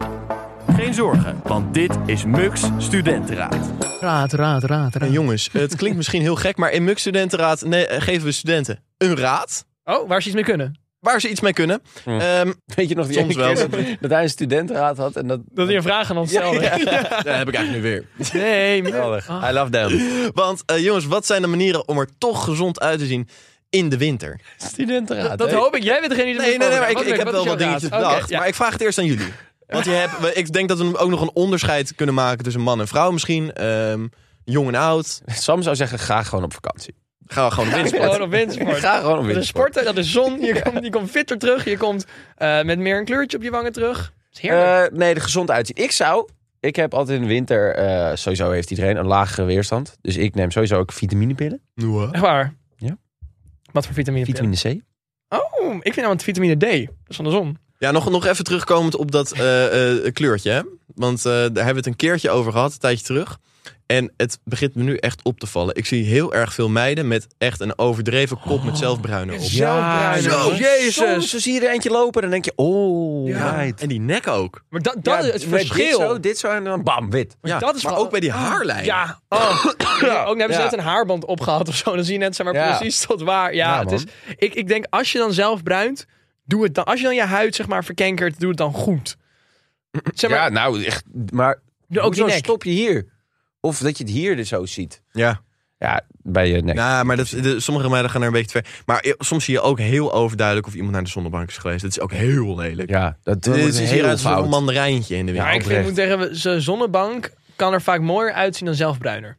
Speaker 5: Geen zorgen, want dit is Mux Studentenraad.
Speaker 4: Raad, raad, raad, raad.
Speaker 2: En Eh, jongens, het klinkt misschien heel gek, maar in Mux Studentenraad nee, eh, geven we studenten een raad
Speaker 4: Oh, waar ze iets mee kunnen.
Speaker 2: waar ze iets mee kunnen.
Speaker 1: Hm.
Speaker 2: Ehm,
Speaker 1: Weet je nog die
Speaker 2: Soms
Speaker 1: ene
Speaker 2: wel.
Speaker 1: keer dat- dat hij een studentenraad had en dat...
Speaker 4: Dat hij een vraag aan ons stelde.
Speaker 2: dat heb ik eigenlijk nu weer.
Speaker 4: Nee, maar-
Speaker 1: Geweldig. I love them.
Speaker 2: Want eh, jongens, wat zijn de manieren om er toch gezond uit te zien in de winter?
Speaker 1: Studentenraad,
Speaker 4: dat
Speaker 1: hè?
Speaker 4: hoop ik. Jij bent degene die
Speaker 2: Nee, nee, nee, maar ik,
Speaker 4: Wat
Speaker 2: ik
Speaker 4: leuk,
Speaker 2: heb wel
Speaker 4: is
Speaker 2: wat
Speaker 4: jouw
Speaker 2: dingetjes
Speaker 4: raad? Oké,
Speaker 2: bedacht.
Speaker 4: ja.
Speaker 2: Maar ik vraag het eerst aan jullie. Want je hebt, we- ik denk dat we ook nog een onderscheid kunnen maken tussen man en vrouw misschien. Ehm, jong en oud.
Speaker 1: Sam zou zeggen, ga gewoon op vakantie.
Speaker 2: Gaan we gewoon op wintersport.
Speaker 4: Gewoon op windsport.
Speaker 1: Ga gewoon op
Speaker 4: Dat is
Speaker 1: wintersport.
Speaker 4: sporten, dat is zon. Je komt, je komt fitter terug. Je komt eh, met meer een kleurtje op je wangen terug. Dat is heerlijk.
Speaker 1: Eh, nee, de gezond uitzien. Ik zou... Ik heb altijd in de winter... eh, sowieso heeft iedereen een lagere weerstand. Dus ik neem sowieso ook vitaminepillen.
Speaker 2: Noah.
Speaker 4: Echt waar.
Speaker 1: Ja.
Speaker 4: Wat voor vitamine?
Speaker 1: Vitamine C.
Speaker 4: Oh, ik vind namelijk vitamine D. Dat is van de zon.
Speaker 2: Ja, nog, nog even terugkomend op dat eh, eh, kleurtje. Hè? Want eh, daar hebben we het een keertje over gehad, een tijdje terug. En het begint me nu echt op te vallen. Ik zie heel erg veel meiden met echt een overdreven kop
Speaker 4: Oh.
Speaker 2: met zelfbruine op.
Speaker 4: Zelfbruin.
Speaker 2: zo,
Speaker 1: Soms dan zie je er eentje lopen en dan denk je... Oh,
Speaker 4: Ja.
Speaker 1: right.
Speaker 2: En die nek ook.
Speaker 4: Maar dat, dat
Speaker 1: Ja,
Speaker 4: is het
Speaker 1: met
Speaker 4: verschil.
Speaker 1: Dit zo, dit zo en dan bam, wit.
Speaker 4: Maar
Speaker 2: Ja,
Speaker 4: dat is
Speaker 2: maar
Speaker 4: wel-
Speaker 2: ook bij die haarlijn.
Speaker 4: Ja. Oh. Ja, Ook dan hebben ze
Speaker 1: Ja.
Speaker 4: net een haarband opgehaald of zo. Dan zie je net zeg maar,
Speaker 1: Ja.
Speaker 4: precies tot waar. Ja,
Speaker 1: Ja,
Speaker 4: het is, ik, ik denk als je dan zelf bruint, doe het dan. Als je dan je huid zeg maar verkenkert, doe het dan goed. Zeg maar,
Speaker 1: ja, nou, echt. Maar
Speaker 4: doe ook die
Speaker 1: hoezo
Speaker 4: nek.
Speaker 1: stop je hier? Of dat je het hier dus zo ziet.
Speaker 2: Ja.
Speaker 1: Ja, bij je nek.
Speaker 2: Nou, maar dat, de- sommige meiden gaan er een beetje te ver. Maar e- soms zie je ook heel overduidelijk of iemand naar de zonnebank is geweest. Dat is ook heel lelijk.
Speaker 1: ja, dat
Speaker 2: Dit
Speaker 1: dat wordt
Speaker 2: is hier
Speaker 1: heel
Speaker 2: uit als
Speaker 1: fout.
Speaker 2: een mandarijntje in de
Speaker 4: Maar
Speaker 2: wereld.
Speaker 4: ik vind, ik moet zeggen, zijn zonnebank kan er vaak mooier uitzien dan zelfbruiner.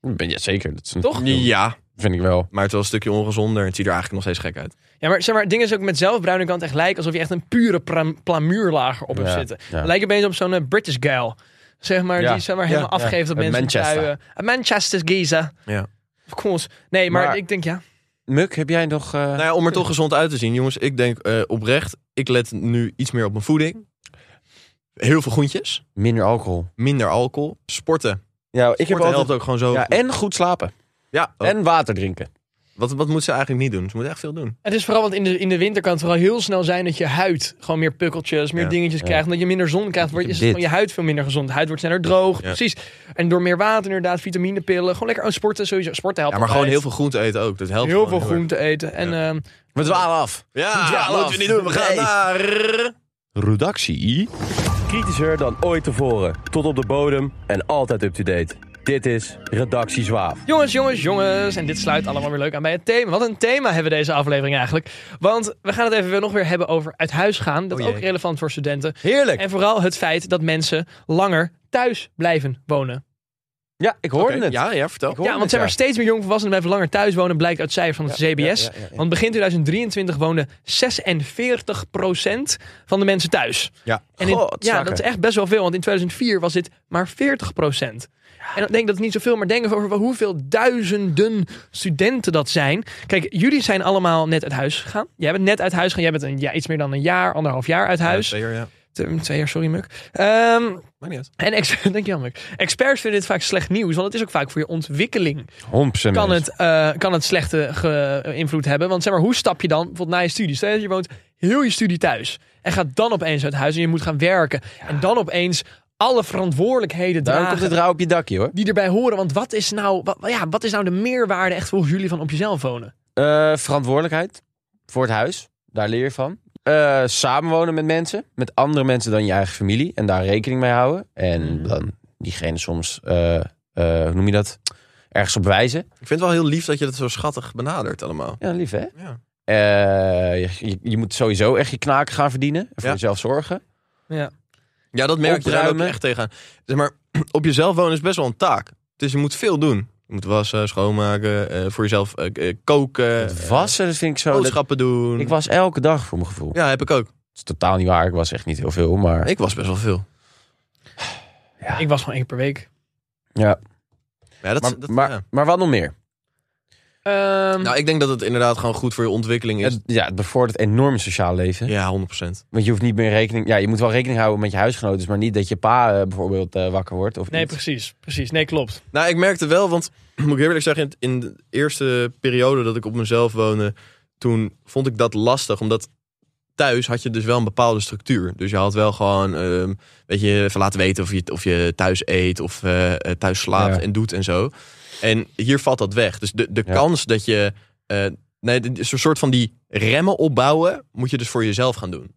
Speaker 1: Ben je zeker? Dat is een-
Speaker 4: Toch?
Speaker 2: ja,
Speaker 1: Vind ik wel.
Speaker 2: maar het is wel een stukje ongezonder. Het ziet er eigenlijk nog steeds gek uit.
Speaker 4: Ja, maar zeg maar, het ding is ook met zelfbruiner kan het echt lijken alsof je echt een pure pra- plamuurlager op hebt
Speaker 1: Ja,
Speaker 4: zitten.
Speaker 1: ja.
Speaker 4: Het Lijkt opeens op zo'n eh, British gal. Zeg maar,
Speaker 1: Ja,
Speaker 4: die zeg maar helemaal
Speaker 1: ja, ja.
Speaker 4: afgeeft op
Speaker 1: Uit
Speaker 4: mensen
Speaker 1: Manchester.
Speaker 4: pluien. Uit Manchester Giza.
Speaker 2: Ja.
Speaker 4: Of course. Nee, maar,
Speaker 1: Maar-
Speaker 4: ik denk ja.
Speaker 1: Muk, heb jij nog... eh,
Speaker 2: Nou ja, om er toch gezond uit te zien, jongens. Ik denk eh, oprecht, ik let nu iets meer op mijn voeding. Heel veel groentjes,
Speaker 1: Minder alcohol.
Speaker 2: minder alcohol, sporten.
Speaker 1: Ja, ik heb
Speaker 2: Sporten helpt
Speaker 1: altijd...
Speaker 2: ook gewoon zo.
Speaker 1: Ja,
Speaker 2: Oh, goed. Oh.
Speaker 1: en goed slapen.
Speaker 2: ja en
Speaker 1: En water drinken.
Speaker 2: wat, wat moet ze eigenlijk niet doen? Ze moet echt veel doen.
Speaker 4: Het is vooral, want in de, in de winter kan het vooral heel snel zijn dat je huid gewoon meer pukkeltjes, meer
Speaker 2: Ja,
Speaker 4: dingetjes krijgt. Omdat je minder zon krijgt, wordt, is
Speaker 1: Dit.
Speaker 4: gewoon je huid veel minder gezond. De huid wordt sneller droog,
Speaker 2: Ja.
Speaker 4: precies. En door meer water inderdaad, vitaminepillen, gewoon lekker oh, sporten sowieso. Sporten helpt
Speaker 2: Ja, maar gewoon heel
Speaker 4: altijd.
Speaker 2: veel groente eten ook. Dat helpt
Speaker 4: Heel veel
Speaker 2: gewoon heel erg.
Speaker 4: groente eten. En ehm,
Speaker 1: We dwalen af.
Speaker 2: Ja,
Speaker 1: Ja,
Speaker 2: dat moeten we niet doen. We gaan
Speaker 1: nee.
Speaker 2: naar...
Speaker 1: Redactie. Kritischer dan ooit tevoren. Tot op de bodem en altijd up-to-date. Dit is Redactie Zwaaf.
Speaker 4: Jongens, jongens, jongens. En dit sluit allemaal weer leuk aan bij het thema. Wat een thema hebben we deze aflevering eigenlijk. Want we gaan het even weer nog weer hebben over uit huis gaan. Dat is
Speaker 2: Oh
Speaker 4: ook
Speaker 2: jee.
Speaker 4: relevant voor studenten.
Speaker 1: Heerlijk.
Speaker 4: En vooral het feit dat mensen langer thuis blijven wonen.
Speaker 1: Ja, ik hoorde
Speaker 2: Oké,
Speaker 1: het.
Speaker 2: Ja, ja, vertel.
Speaker 1: Ik hoorde
Speaker 4: Ja, want
Speaker 1: het,
Speaker 4: zeg maar steeds meer jongvolwassenen blijven langer thuis wonen, blijkt uit cijfers van het CBS.
Speaker 1: ja, ja, ja.
Speaker 4: Want begin 2023 woonde 46% van de mensen thuis.
Speaker 2: Ja.
Speaker 4: En in-
Speaker 1: God,
Speaker 4: ja,
Speaker 1: zakken.
Speaker 4: dat is echt best wel veel, want in 2004 was dit maar 40%. En dan denk ik dat het niet zoveel, maar denk even over hoeveel duizenden studenten dat zijn. Kijk, jullie zijn allemaal net uit huis gegaan. Jij bent net uit huis gegaan. Jij bent een, ja, iets meer dan een jaar, anderhalf jaar uit huis.
Speaker 2: Ja, zeker, ja.
Speaker 4: Twee, twee jaar, sorry Muk. Ehm,
Speaker 2: Maakt niet uit.
Speaker 4: en ex- dankjewel, Muk. experts vinden dit vaak slecht nieuws, want het is ook vaak voor je ontwikkeling
Speaker 1: Hompsen
Speaker 4: kan
Speaker 1: mensen.
Speaker 4: het, eh, kan het slechte ge- invloed hebben. Want zeg maar, hoe stap je dan bijvoorbeeld na je studie? Stel dat je woont heel je studie thuis en gaat dan opeens uit huis en je moet gaan werken. En dan opeens alle verantwoordelijkheden
Speaker 1: Daarom
Speaker 4: dragen
Speaker 1: komt het rauw op je dakje hoor.
Speaker 4: die erbij horen. Want wat is, nou, wat, ja, wat is nou de meerwaarde echt volgens jullie van op jezelf wonen?
Speaker 1: Eh, verantwoordelijkheid voor het huis. Daar leer je van. Eh, samenwonen met mensen. Met andere mensen dan je eigen familie. En daar rekening mee houden. En dan diegene soms, eh, eh, hoe noem je dat? Ergens op wijzen.
Speaker 2: Ik vind het wel heel lief dat je dat zo schattig benadert allemaal.
Speaker 1: Ja, lief hè?
Speaker 2: Ja.
Speaker 1: Eh, je, je- je moet sowieso echt je knaken gaan verdienen. En voor
Speaker 2: Ja. Eh,
Speaker 1: jezelf zorgen.
Speaker 2: Ja, dat merk je daar ook
Speaker 1: Opruimen.
Speaker 2: echt tegenaan. Zeg maar, op jezelf wonen is best wel een taak. Dus je moet veel doen. Je moet wassen, schoonmaken, eh, voor jezelf eh, eh, koken,
Speaker 1: Het wassen, dat vind ik zo... dat-
Speaker 2: boodschappen doen.
Speaker 1: ik was elke dag voor mijn gevoel.
Speaker 2: eh, oh, Ja, heb ik ook.
Speaker 1: Dat is totaal niet waar. Ik was echt niet heel veel, maar...
Speaker 2: Ik was best wel veel.
Speaker 4: Ik was gewoon één keer per week.
Speaker 1: ja.
Speaker 2: Ja, dat,
Speaker 1: Maar,
Speaker 2: dat-
Speaker 1: maar,
Speaker 2: ja.
Speaker 1: maar wat nog meer?
Speaker 4: Ehm,
Speaker 2: Nou, ik denk dat het inderdaad gewoon goed voor je ontwikkeling is.
Speaker 1: Het, ja, het bevordert enorm het sociaal leven.
Speaker 2: Ja, 100%.
Speaker 1: Want je hoeft niet meer rekening... Ja, je moet wel rekening houden met je huisgenoten. Maar niet dat je pa eh, bijvoorbeeld eh, wakker wordt. Of
Speaker 4: nee,
Speaker 1: iets.
Speaker 4: precies. Precies. Nee, klopt.
Speaker 2: Nou, ik merkte wel, want moet ik eerlijk zeggen, in de eerste periode dat ik op mezelf woonde, toen vond ik dat lastig, omdat thuis had je dus wel een bepaalde structuur. Dus je had wel gewoon, ehm, weet je, even laten weten of je, of je thuis eet of eh, eh, thuis slaapt
Speaker 1: Ja.
Speaker 2: en doet en zo. En hier valt dat weg. Dus de, de
Speaker 1: Ja.
Speaker 2: kans dat je, eh, nee, een soort van die remmen opbouwen, moet je dus voor jezelf gaan doen.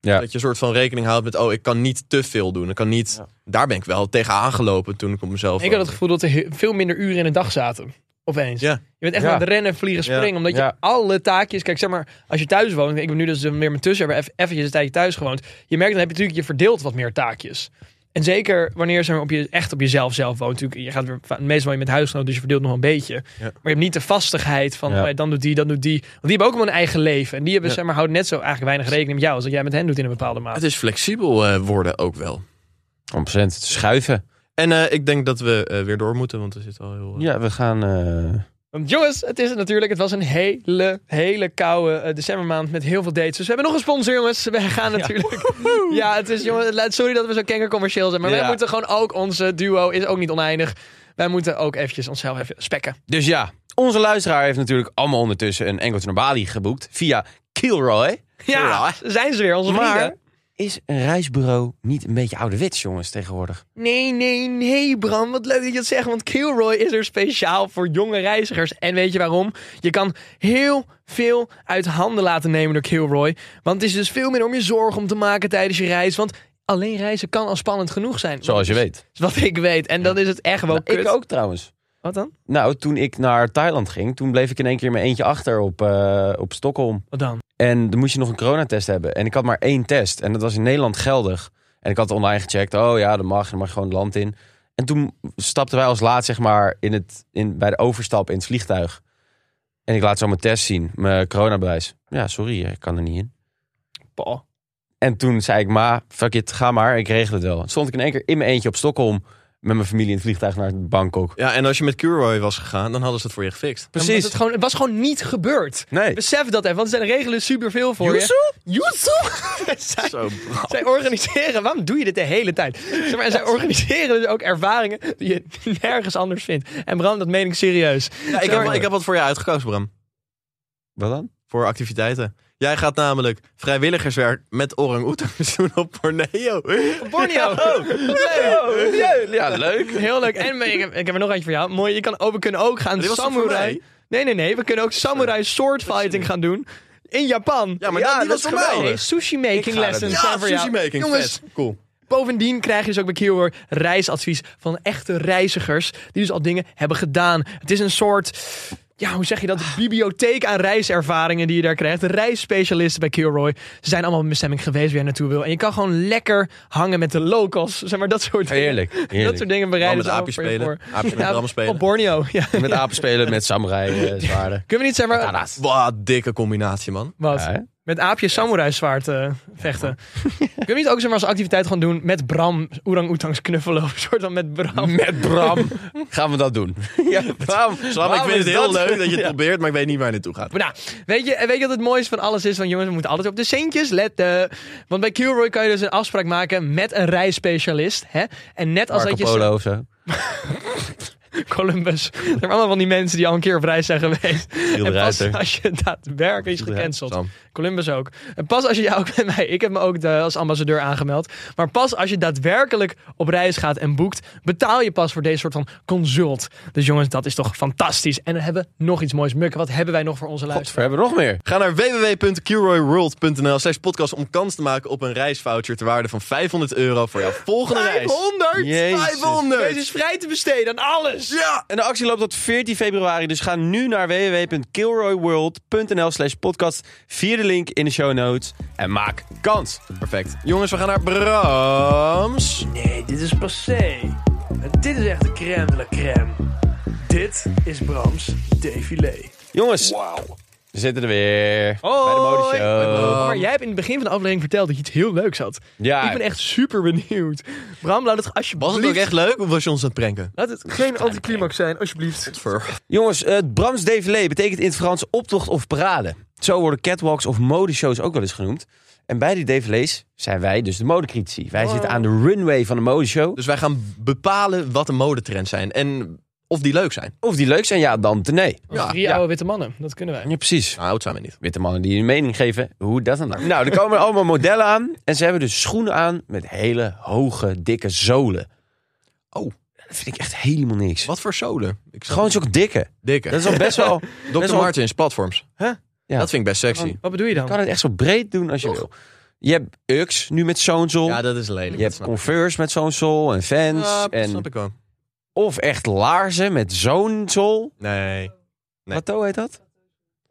Speaker 1: Ja.
Speaker 2: Dat je een soort van rekening houdt met, oh, ik kan niet te veel doen. Ik kan niet,
Speaker 1: Ja.
Speaker 2: daar ben ik wel tegenaan gelopen toen ik op mezelf
Speaker 4: Ik had het
Speaker 2: woonde.
Speaker 4: gevoel dat er he- veel minder uren in de dag zaten. Opeens.
Speaker 2: Ja.
Speaker 4: Je bent echt
Speaker 1: Ja.
Speaker 4: aan het rennen, vliegen,
Speaker 2: Ja.
Speaker 4: springen. Omdat je
Speaker 1: Ja.
Speaker 4: alle taakjes... Kijk, zeg maar, als je thuis woont... Ik ben nu dus weer mijn tussen hebben eventjes een tijdje thuis gewoond. Je merkt, dan heb je natuurlijk... Je verdeelt wat meer taakjes. En zeker wanneer zeg maar, op je, echt op jezelf zelf woont. Natuurlijk, je gaat weer, va- meestal woon je met huisgenoten, dus je verdeelt nog wel een beetje. Maar je hebt niet de vastigheid van
Speaker 1: Ja.
Speaker 4: oh ja, dan doet die, dan doet die. Want die hebben ook wel een eigen leven. En die hebben, zeg maar, houden net zo eigenlijk weinig rekening met jou als dat jij met hen doet in een bepaalde
Speaker 2: Het
Speaker 4: mate.
Speaker 2: is flexibel eh, worden ook wel.
Speaker 1: 100%. Het Schuiven.
Speaker 2: En eh, ik denk dat we eh, weer door moeten, want er zit al heel... eh,
Speaker 1: Ja, we gaan... eh,
Speaker 4: Want jongens, het is het natuurlijk. Het was een hele, hele koude eh, decembermaand met heel veel dates. Dus we hebben nog een sponsor, jongens. We gaan natuurlijk. Ja, het is, jongens, laat- sorry dat we zo kankercommercieel zijn. Maar wij
Speaker 1: Ja.
Speaker 4: moeten gewoon ook, onze duo is ook niet oneindig. Wij moeten ook eventjes onszelf even spekken.
Speaker 1: Dus ja, onze luisteraar heeft natuurlijk allemaal ondertussen een enkeltje naar Bali geboekt via Kilroy.
Speaker 4: Ja, zijn ze weer, onze
Speaker 1: Maar
Speaker 4: vrienden.
Speaker 1: is een reisbureau niet een beetje ouderwets, jongens, tegenwoordig?
Speaker 4: Nee, nee, nee, Bram. Wat leuk dat je dat zegt. Want Kilroy is er speciaal voor jonge reizigers. En weet je waarom? Je kan heel veel uit handen laten nemen door Kilroy. Want het is dus veel minder om je zorgen om te maken tijdens je reis. Want alleen reizen kan al spannend genoeg zijn.
Speaker 1: Zoals je weet.
Speaker 4: Is Wat ik weet. En dan is het echt wel
Speaker 1: Nou,
Speaker 4: kut.
Speaker 1: ik ook trouwens.
Speaker 4: Wat dan?
Speaker 1: Nou, toen ik naar Thailand ging, toen bleef ik in één keer in mijn eentje achter op, eh, op Stockholm.
Speaker 4: Wat dan?
Speaker 1: En dan moest je nog een coronatest hebben. En ik had maar één test. En dat was in Nederland geldig. En ik had online gecheckt. Oh ja, dat mag. Dan mag je gewoon het land in. En toen stapten wij als laat, zeg maar, in het, in, bij de overstap in het vliegtuig. En ik laat zo mijn test zien, mijn coronabewijs. Ja, sorry, eh, ik kan er niet in.
Speaker 4: Paul.
Speaker 1: En toen zei ik, ma, fuck it, ga maar, ik regel het wel. Toen stond ik in één keer in mijn eentje op Stockholm met mijn familie in het vliegtuig naar Bangkok.
Speaker 2: Ja, en als je met Curroy was gegaan, dan hadden ze het voor je gefixt.
Speaker 4: Omdat Het, gewoon, het was gewoon niet gebeurd.
Speaker 1: Nee.
Speaker 4: Besef dat even, want er zijn regelen superveel voor je. Joezoe? zij, zij organiseren, waarom doe je dit de hele tijd? Zeg maar, en zij organiseren dus ook ervaringen die je nergens anders vindt. En Bram, dat meen ik serieus.
Speaker 2: Ja, ik, heb, ik heb wat voor je uitgekozen, Bram.
Speaker 1: Wat dan?
Speaker 2: Voor activiteiten. Jij gaat namelijk vrijwilligerswerk met orang-oeters doen op Borneo.
Speaker 4: Borneo.
Speaker 2: Oh.
Speaker 4: Wat leuk.
Speaker 1: Ja, leuk.
Speaker 4: Heel leuk. En ik heb, ik heb er nog eentje voor jou. Mooi, je kan, ook- we kunnen ook gaan
Speaker 2: Die was toch voor
Speaker 4: samurai.
Speaker 2: mij?
Speaker 4: Nee, nee, nee. We kunnen ook samurai swordfighting gaan doen. In Japan.
Speaker 2: Ja, maar dat- die
Speaker 4: dat
Speaker 2: was
Speaker 4: is
Speaker 2: voor mij.
Speaker 4: geweldig. Sushi making lessons zijn voor jou. Jongens,
Speaker 2: Jongens. Cool.
Speaker 4: Bovendien krijg je dus ook bij Keelhoor reisadvies van echte reizigers. Die dus al dingen hebben gedaan. Het is een soort. Ja, hoe zeg je dat? Bibliotheek aan reiservaringen die je daar krijgt. Reisspecialisten bij Kilroy. Ze zijn allemaal op een bestemming geweest waar je naartoe wil. En je kan gewoon lekker hangen met de locals. Zeg maar dat soort dingen.
Speaker 1: Heerlijk, heerlijk.
Speaker 4: Dat soort dingen bereiden
Speaker 2: Met
Speaker 4: ze
Speaker 2: aapjes
Speaker 4: allemaal voor je
Speaker 2: spelen.
Speaker 4: voor.
Speaker 2: Aapjes met
Speaker 4: Ja,
Speaker 2: rammen spelen.
Speaker 4: Op Borneo. Ja.
Speaker 1: Met apen spelen, met samurai eh, zwaarden.
Speaker 4: Kunnen we niet zeg maar...
Speaker 1: Katanas.
Speaker 2: Wat dikke combinatie, man.
Speaker 4: Wat?
Speaker 1: Ja, hè?
Speaker 4: Met aapjes samurai zwaard eh, vechten. Kunnen we niet ook zeg maar als activiteit gewoon doen met Bram orang-oetangs knuffelen? Of een soort van met Bram.
Speaker 1: Met Bram gaan we dat doen. Ja, Bram,
Speaker 2: Bram, ik vind
Speaker 1: is
Speaker 2: het heel
Speaker 1: dat-
Speaker 2: leuk dat je het probeert, maar ik weet niet waar je naartoe gaat.
Speaker 4: Maar nou, weet je, weet je wat het mooiste van alles is? Want jongens, we moeten altijd op de centjes letten. Want bij Kilroy kan je dus een afspraak maken met een reisspecialist. Hè? En net als
Speaker 1: Marco
Speaker 4: dat je...
Speaker 1: Polo of zo.
Speaker 4: Columbus. Er zijn allemaal van die mensen die al een keer op reis zijn geweest.
Speaker 1: de
Speaker 4: en pas
Speaker 1: Ruiter.
Speaker 4: als je daadwerkelijk is gecanceld.
Speaker 2: Sam.
Speaker 4: Columbus ook. En pas als je jou ook met mij... Ik heb me ook de- als ambassadeur aangemeld. Maar pas als je daadwerkelijk op reis gaat en boekt... betaal je pas voor deze soort van consult. Dus jongens, dat is toch fantastisch. En dan hebben we nog iets moois. Mukken, wat hebben wij nog voor onze luisteraars?
Speaker 1: We hebben nog meer.
Speaker 2: Ga naar www.curoyworld.nl slash podcast om kans te maken op een reisvoucher ter waarde van 500 euro voor jouw volgende reis.
Speaker 4: 500!
Speaker 1: Jezus.
Speaker 2: 500!
Speaker 4: Deze is vrij te besteden aan alles.
Speaker 2: Ja!
Speaker 1: En de actie loopt tot 14 februari, dus ga nu naar www.kilroyworld.nl slash podcast via de link in de show notes en maak kans.
Speaker 2: Perfect. Jongens, we gaan naar Brams.
Speaker 6: Nee, dit is passé. En dit is echt de crème de la crème. Dit is Brams défilé.
Speaker 1: Jongens, we zitten er weer bij de modeshow.
Speaker 4: Maar jij hebt in het begin van de aflevering verteld dat je iets heel leuks had.
Speaker 1: Ja,
Speaker 4: Ik ben echt super benieuwd. Bram, laat het alsjeblieft...
Speaker 2: Was het ook echt leuk of was je ons aan het pranken?
Speaker 4: Laat het geen anticlimax zijn, alsjeblieft.
Speaker 1: Jongens, eh, het Brams Défilé betekent in het Frans optocht of parade. Zo worden catwalks of modeshows ook wel eens genoemd. En bij die défilés zijn wij dus de modecritici. Wij zitten aan de runway van de modeshow.
Speaker 2: Dus wij gaan bepalen wat de modetrends zijn en of die leuk zijn.
Speaker 1: Of die leuk zijn, ja, dan te nee.
Speaker 4: Als drie
Speaker 1: ja.
Speaker 4: oude witte mannen, dat kunnen wij.
Speaker 1: Ja, precies.
Speaker 2: Nou, oud zijn we niet.
Speaker 1: Witte mannen die hun mening geven, hoe dat dan nou? Nou, er komen allemaal modellen aan. En ze hebben dus schoenen aan met hele hoge, dikke zolen.
Speaker 2: Oh.
Speaker 1: Dat vind ik echt helemaal niks.
Speaker 2: Wat voor zolen? Ik snap
Speaker 1: Gewoon
Speaker 2: het.
Speaker 1: zo'n dikke.
Speaker 2: dikke.
Speaker 1: Dat is al best wel... best
Speaker 2: Dr.
Speaker 1: wel-
Speaker 2: Martens, platforms.
Speaker 1: Hè? Ja.
Speaker 2: Dat vind ik best sexy.
Speaker 4: Wat bedoel je
Speaker 1: kan
Speaker 4: dan?
Speaker 1: het echt zo breed doen als je wil. Je hebt Ux nu met zo'n zool.
Speaker 2: Ja, dat is lelijk.
Speaker 1: Je hebt
Speaker 2: dat snap ik.
Speaker 1: Converse met zo'n sol en Vans.
Speaker 2: Ja, dat
Speaker 1: en,
Speaker 2: snap ik wel.
Speaker 1: of echt laarzen met zo'n sol.
Speaker 2: Nee. Nee.
Speaker 1: Plateau heet dat?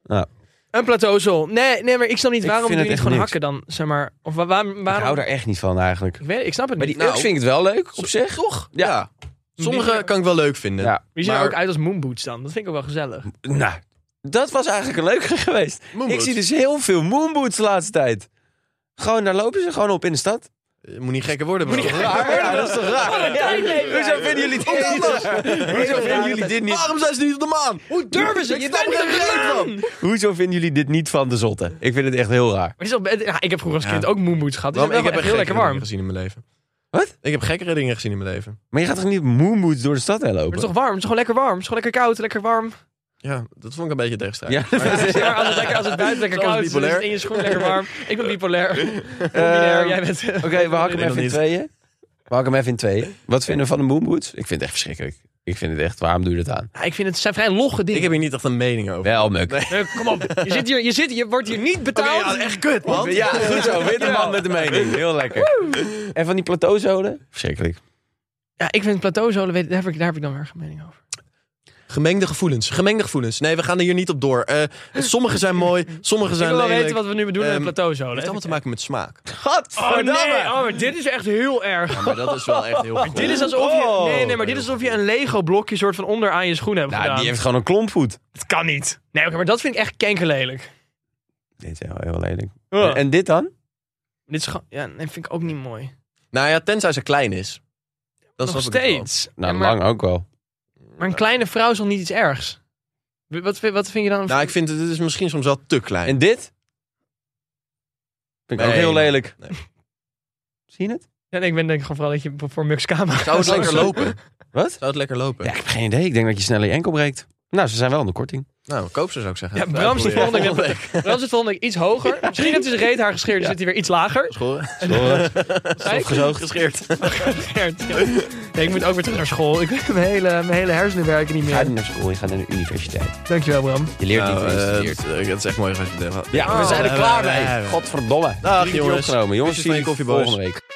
Speaker 1: Nou,
Speaker 4: Een plateauzol. Nee, nee, maar ik snap niet,
Speaker 1: Ik
Speaker 4: waarom
Speaker 1: vind
Speaker 4: doe je niet
Speaker 1: het
Speaker 4: gewoon
Speaker 1: echt
Speaker 4: hakken dan? Zeg maar, of waar, waar- waarom...
Speaker 1: Ik hou daar echt niet van eigenlijk.
Speaker 4: Ik weet, ik snap het
Speaker 1: Maar
Speaker 4: niet.
Speaker 1: die
Speaker 2: Nou,
Speaker 1: Ux vind ik het wel leuk op zich. Toch?
Speaker 2: Ja.
Speaker 1: Ja.
Speaker 2: Sommige kan ik wel leuk vinden.
Speaker 1: Ja.
Speaker 4: Die zien er
Speaker 2: maar-
Speaker 4: ook uit als moonboots dan. Dat vind ik ook wel gezellig.
Speaker 1: Nou, dat was eigenlijk een leuke geweest. Ik
Speaker 2: Moonboots.
Speaker 1: zie dus heel veel moonboots de laatste tijd. Gewoon, daar lopen ze gewoon op in de stad.
Speaker 2: Je Eh, Moet niet gekker worden, bro.
Speaker 1: Ja, dat is toch
Speaker 4: Eh,
Speaker 1: raar? Hoezo vinden jullie dit niet? Hoezo vinden jullie dit niet?
Speaker 2: Waarom zijn ze niet op de maan?
Speaker 4: Hoe durven ze? Je
Speaker 2: snap er geen reet van.
Speaker 1: Hoezo vinden jullie dit niet van de zotte? Ik vind het echt heel raar.
Speaker 4: Maar het is wel- het- eh, ja, ik heb vroeger als kind ook moonboots gehad. dus Die
Speaker 2: Bram, ik
Speaker 4: zijn wel
Speaker 2: heb
Speaker 4: echt
Speaker 2: echt
Speaker 4: heel lekker warm.
Speaker 2: gezien in mijn leven.
Speaker 1: Wat?
Speaker 2: Ik heb gekkere dingen gezien in mijn leven.
Speaker 1: Maar je gaat toch niet moonboots door de stad heen
Speaker 4: Maar
Speaker 1: lopen?
Speaker 4: het is toch warm? Het is gewoon lekker warm. Het is gewoon lekker koud, lekker warm.
Speaker 2: Ja, dat vond ik een beetje tegenstrijdig.
Speaker 1: Ja,
Speaker 4: Ja, als het, lekker, als het buiten lekker
Speaker 2: Zoals
Speaker 4: koud is, dan is
Speaker 2: bipolair. Eh,
Speaker 4: het in je
Speaker 1: Ehm,
Speaker 4: schoen lekker warm. Ik ben bipolair. Combinair, jij bent...
Speaker 1: Oké, we hakken hem even in tweeën. Pak hem even in twee. Wat vinden we van de Moonboots? Ik vind het echt verschrikkelijk. Ik vind het echt, waarom doe je dat aan?
Speaker 4: Ja, ik vind het, het zijn vrij logge
Speaker 2: Ik
Speaker 4: dingen.
Speaker 2: heb hier niet echt een mening over.
Speaker 1: Wel, Muk.
Speaker 4: Eh, Kom op, je, zit hier, je, zit, je wordt hier niet betaald.
Speaker 2: ja, echt kut, man.
Speaker 1: Ja, goed zo. Witte man met de mening. Heel lekker. En van die plateauzolen? Verschrikkelijk.
Speaker 4: Ja, ik vind plateauzolen, weet- daar heb ik, daar heb ik dan weer een mening over.
Speaker 2: Gemengde gevoelens. Gemengde gevoelens. Nee, we gaan er hier niet op door. Eh, sommige zijn mooi, sommige
Speaker 4: Ik
Speaker 2: zijn
Speaker 4: wil wel
Speaker 2: lelijk.
Speaker 4: weten wat we nu bedoelen
Speaker 2: Ehm,
Speaker 4: met plateauzolen.
Speaker 2: Het heeft allemaal te maken met smaak.
Speaker 4: Oh nee,
Speaker 1: Godverdamme!
Speaker 4: oh, maar dit is echt heel erg.
Speaker 2: Maar dat is wel echt heel goed.
Speaker 4: Dit is alsof je, nee, nee, maar dit is alsof je een Lego blokje soort van onder aan je schoen hebt
Speaker 1: Nou,
Speaker 4: gedaan.
Speaker 1: die heeft gewoon een klompvoet.
Speaker 4: Het kan niet. Nee, oké, maar dat vind ik echt kenkerlelijk.
Speaker 1: Dit is heel, heel lelijk.
Speaker 4: Ja.
Speaker 1: En, en dit dan?
Speaker 4: Dit is gewoon, ja, dat vind ik ook niet mooi.
Speaker 2: Nou ja, tenzij ze klein is. Dat
Speaker 4: Nog
Speaker 2: snap ik wel.
Speaker 4: steeds.
Speaker 1: Nou,
Speaker 4: Ja, maar,
Speaker 1: lang ook wel.
Speaker 4: maar een kleine vrouw is al niet iets ergs. W- Wat, vind- wat vind je dan? een
Speaker 2: Nou, ik vind het, het is misschien soms wel te klein.
Speaker 1: En dit? Vind ik ook
Speaker 2: Nee,
Speaker 1: heel
Speaker 2: nee.
Speaker 1: lelijk.
Speaker 2: Nee.
Speaker 1: Zie je het?
Speaker 4: Ja, nee, ik ben denk ik gewoon vooral dat je voor Mux camera.
Speaker 2: Zou het lekker lopen?
Speaker 1: Wat?
Speaker 2: Zou het lekker lopen?
Speaker 1: Ja, ik heb geen idee. Ik denk dat je sneller je enkel breekt. Nou, ze zijn wel onder korting.
Speaker 2: Nou, koop ze zou ik zeggen.
Speaker 4: Ja, Bram zit volgende
Speaker 2: Uitproberen.
Speaker 4: keer Bram zit volgende keer iets hoger. Misschien heeft hij zijn reet haar gescheerd, dus zit hij weer iets lager.
Speaker 2: Schoren.
Speaker 4: Kijk.
Speaker 1: Gezoogd.
Speaker 4: Gescheerd, ja. Nee, ik moet ook weer terug naar school. Ik, mijn, hele, mijn hele hersenen werken niet
Speaker 1: Ga
Speaker 4: meer.
Speaker 1: niet naar school, je gaat naar de universiteit.
Speaker 4: Dankjewel, Bram.
Speaker 1: Je leert
Speaker 2: Nou,
Speaker 1: niet, je
Speaker 2: eh,
Speaker 1: studeert.
Speaker 2: het- dat is echt mooi als je het hebt.
Speaker 1: Ja, we zijn er
Speaker 2: eh,
Speaker 1: klaar
Speaker 2: eh,
Speaker 1: mee.
Speaker 2: eh,
Speaker 1: Godverdomme.
Speaker 2: Dag,
Speaker 1: Drie keer
Speaker 2: jongens.
Speaker 1: opgenomen. Jongens,
Speaker 2: Kusjes van je
Speaker 1: zie je
Speaker 2: koffieboys.
Speaker 1: volgende week.